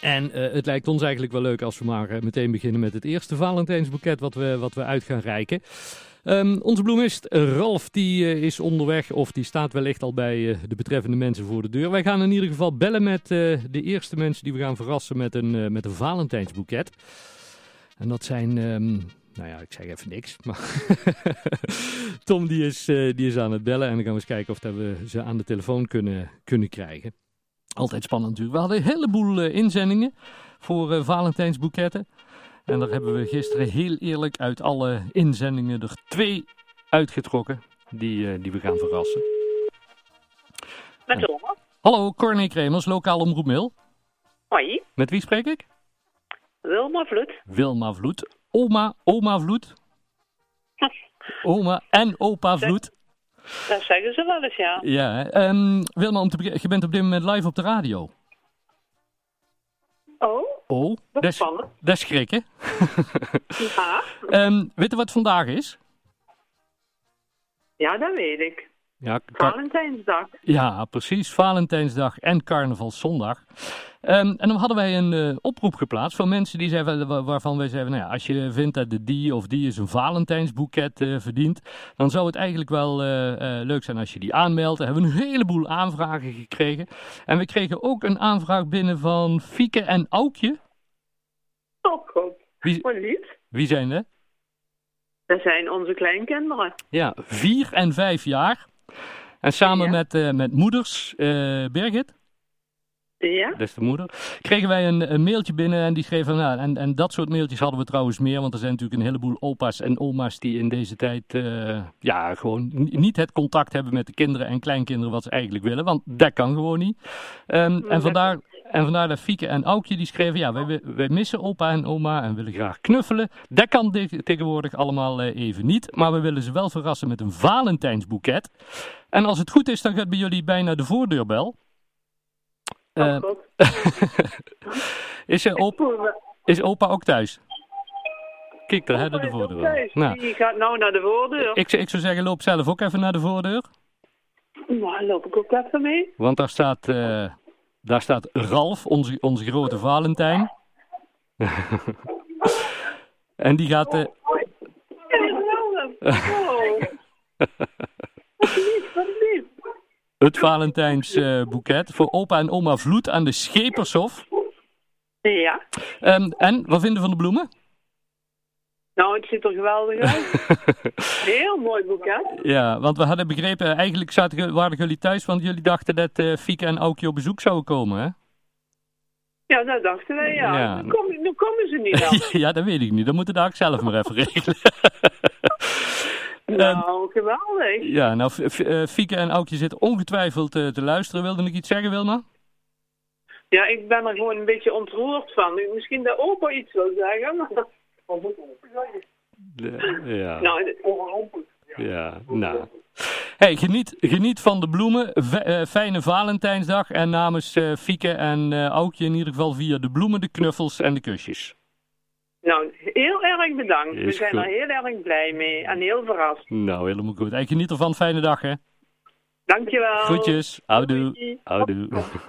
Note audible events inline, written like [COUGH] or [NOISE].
En eh, het lijkt ons eigenlijk wel leuk als we maar eh, meteen beginnen met het eerste Valentijnsboeket wat we, wat we uit gaan reiken. Ehm, onze bloemist eh, Ralf die eh, is onderweg of die staat wellicht al bij eh, de betreffende mensen voor de deur. Wij gaan in ieder geval bellen met eh, de eerste mensen die we gaan verrassen met een, eh, met een Valentijnsboeket. En dat zijn, ehm, nou ja, ik zeg even niks, maar [LAUGHS] Tom die is, eh, die is aan het bellen en dan gaan we eens kijken of dat we ze aan de telefoon kunnen, kunnen krijgen. Altijd spannend natuurlijk. We hadden een heleboel eh, inzendingen voor eh Valentijnsboeketten. En daar hebben we gisteren heel eerlijk uit alle inzendingen er twee uitgetrokken die, eh, die we gaan verrassen. Met Lomme. Hallo, Corné Kremers, lokaal omroep Mil. Hoi, Met wie spreek ik? Wilma Vloed. Wilma Vloed. Oma, oma Vloed. Oma en opa Vloed. Dat zeggen ze wel eens, ja. Ja, hè. Ehm, Wilma, om te beg- je bent op dit moment live op de radio. Oh, Oh, dat is, spannend. dat is schrikken. ja. Ehm, weet je wat vandaag is? Ja, dat weet ik. Ja, kan- Valentijnsdag. Ja, precies. Valentijnsdag en Carnavalszondag. Ehm, en dan hadden wij een eh, oproep geplaatst van mensen die zeiden, wa- waarvan wij zeiden, nou ja, als je vindt dat de die of die is een Valentijnsboeket eh, verdient, dan zou het eigenlijk wel eh, eh, leuk zijn als je die aanmeldt. We hebben we een heleboel aanvragen gekregen. En we kregen ook een aanvraag binnen van Fieke en Aukje. Oh, goed. Wie, Wat lief. wie zijn dat? Dat zijn onze kleinkinderen. Ja, vier en vijf jaar. En samen Ja. met, eh, met moeders, eh, Birgit. Ja? Dat is de moeder. Kregen wij een, een mailtje binnen en die schreef van, nou, en, en dat soort mailtjes hadden we trouwens meer, want er zijn natuurlijk een heleboel opa's en oma's die in deze tijd eh, ja, gewoon ni- niet het contact hebben met de kinderen en kleinkinderen wat ze eigenlijk willen, want dat kan gewoon niet. Ehm, en, Mm, dat vandaar, en vandaar dat Fieke en Aukje die schreven, ja, wij, wi- wij missen opa en oma en willen graag knuffelen. Dat kan te- tegenwoordig allemaal eh, even niet, maar we willen ze wel verrassen met een Valentijnsboeket. En als het goed is, dan gaat bij jullie bijna de voordeurbel. Eh, oh, goed. is, er op, is opa ook thuis? Kijk, daar hebben we de voordeur. Nou, Die gaat nou naar de voordeur. ik, zou- ik zou zeggen, loop zelf ook even naar de voordeur. Nou, loop ik ook even mee. Want daar staat, eh, daar staat Ralf, onze, onze grote Valentijn. [LAUGHS] en die gaat... eh, Hey, [LAUGHS] Lomme. Oh. Wat lief, wat lief. het Valentijns eh, boeket voor opa en oma Vloed aan de Schepershof. Ja. Ehm, en, wat vinden we van de bloemen? Nou, het ziet er geweldig uit. [LAUGHS] Heel mooi boeket. Ja, want we hadden begrepen, eh, eigenlijk zaten, ge- waren jullie thuis, want jullie dachten dat eh Fieke en Aukje op bezoek zouden komen, hè? Ja, dat dachten wij, ja. Ja. Nu, kom, nu komen ze [LAUGHS] niet dan. Ja, dat weet ik niet. Dat moeten we daar zelf maar even regelen. Nou, geweldig. Ja, nou, F- F- eh, Fieke en Aukje zitten ongetwijfeld eh, te luisteren. Wilde ik iets zeggen, Wilma? Ja, ik ben er gewoon een beetje ontroerd van. Misschien dat opa iets wil zeggen, maar... Ja, Nou, het- ja, nou. Hey, geniet, geniet van de bloemen. V- eh, fijne Valentijnsdag. En namens eh, Fieke en eh Aukje in ieder geval via de bloemen, de knuffels en de kusjes. nou, heel erg bedankt. We Is zijn goed. er heel erg blij mee en heel verrast. Nou, helemaal goed. Hey, geniet ervan. Fijne dag, hè. Dankjewel. Groetjes. Houdoe. Nou. Doei. Houdoe.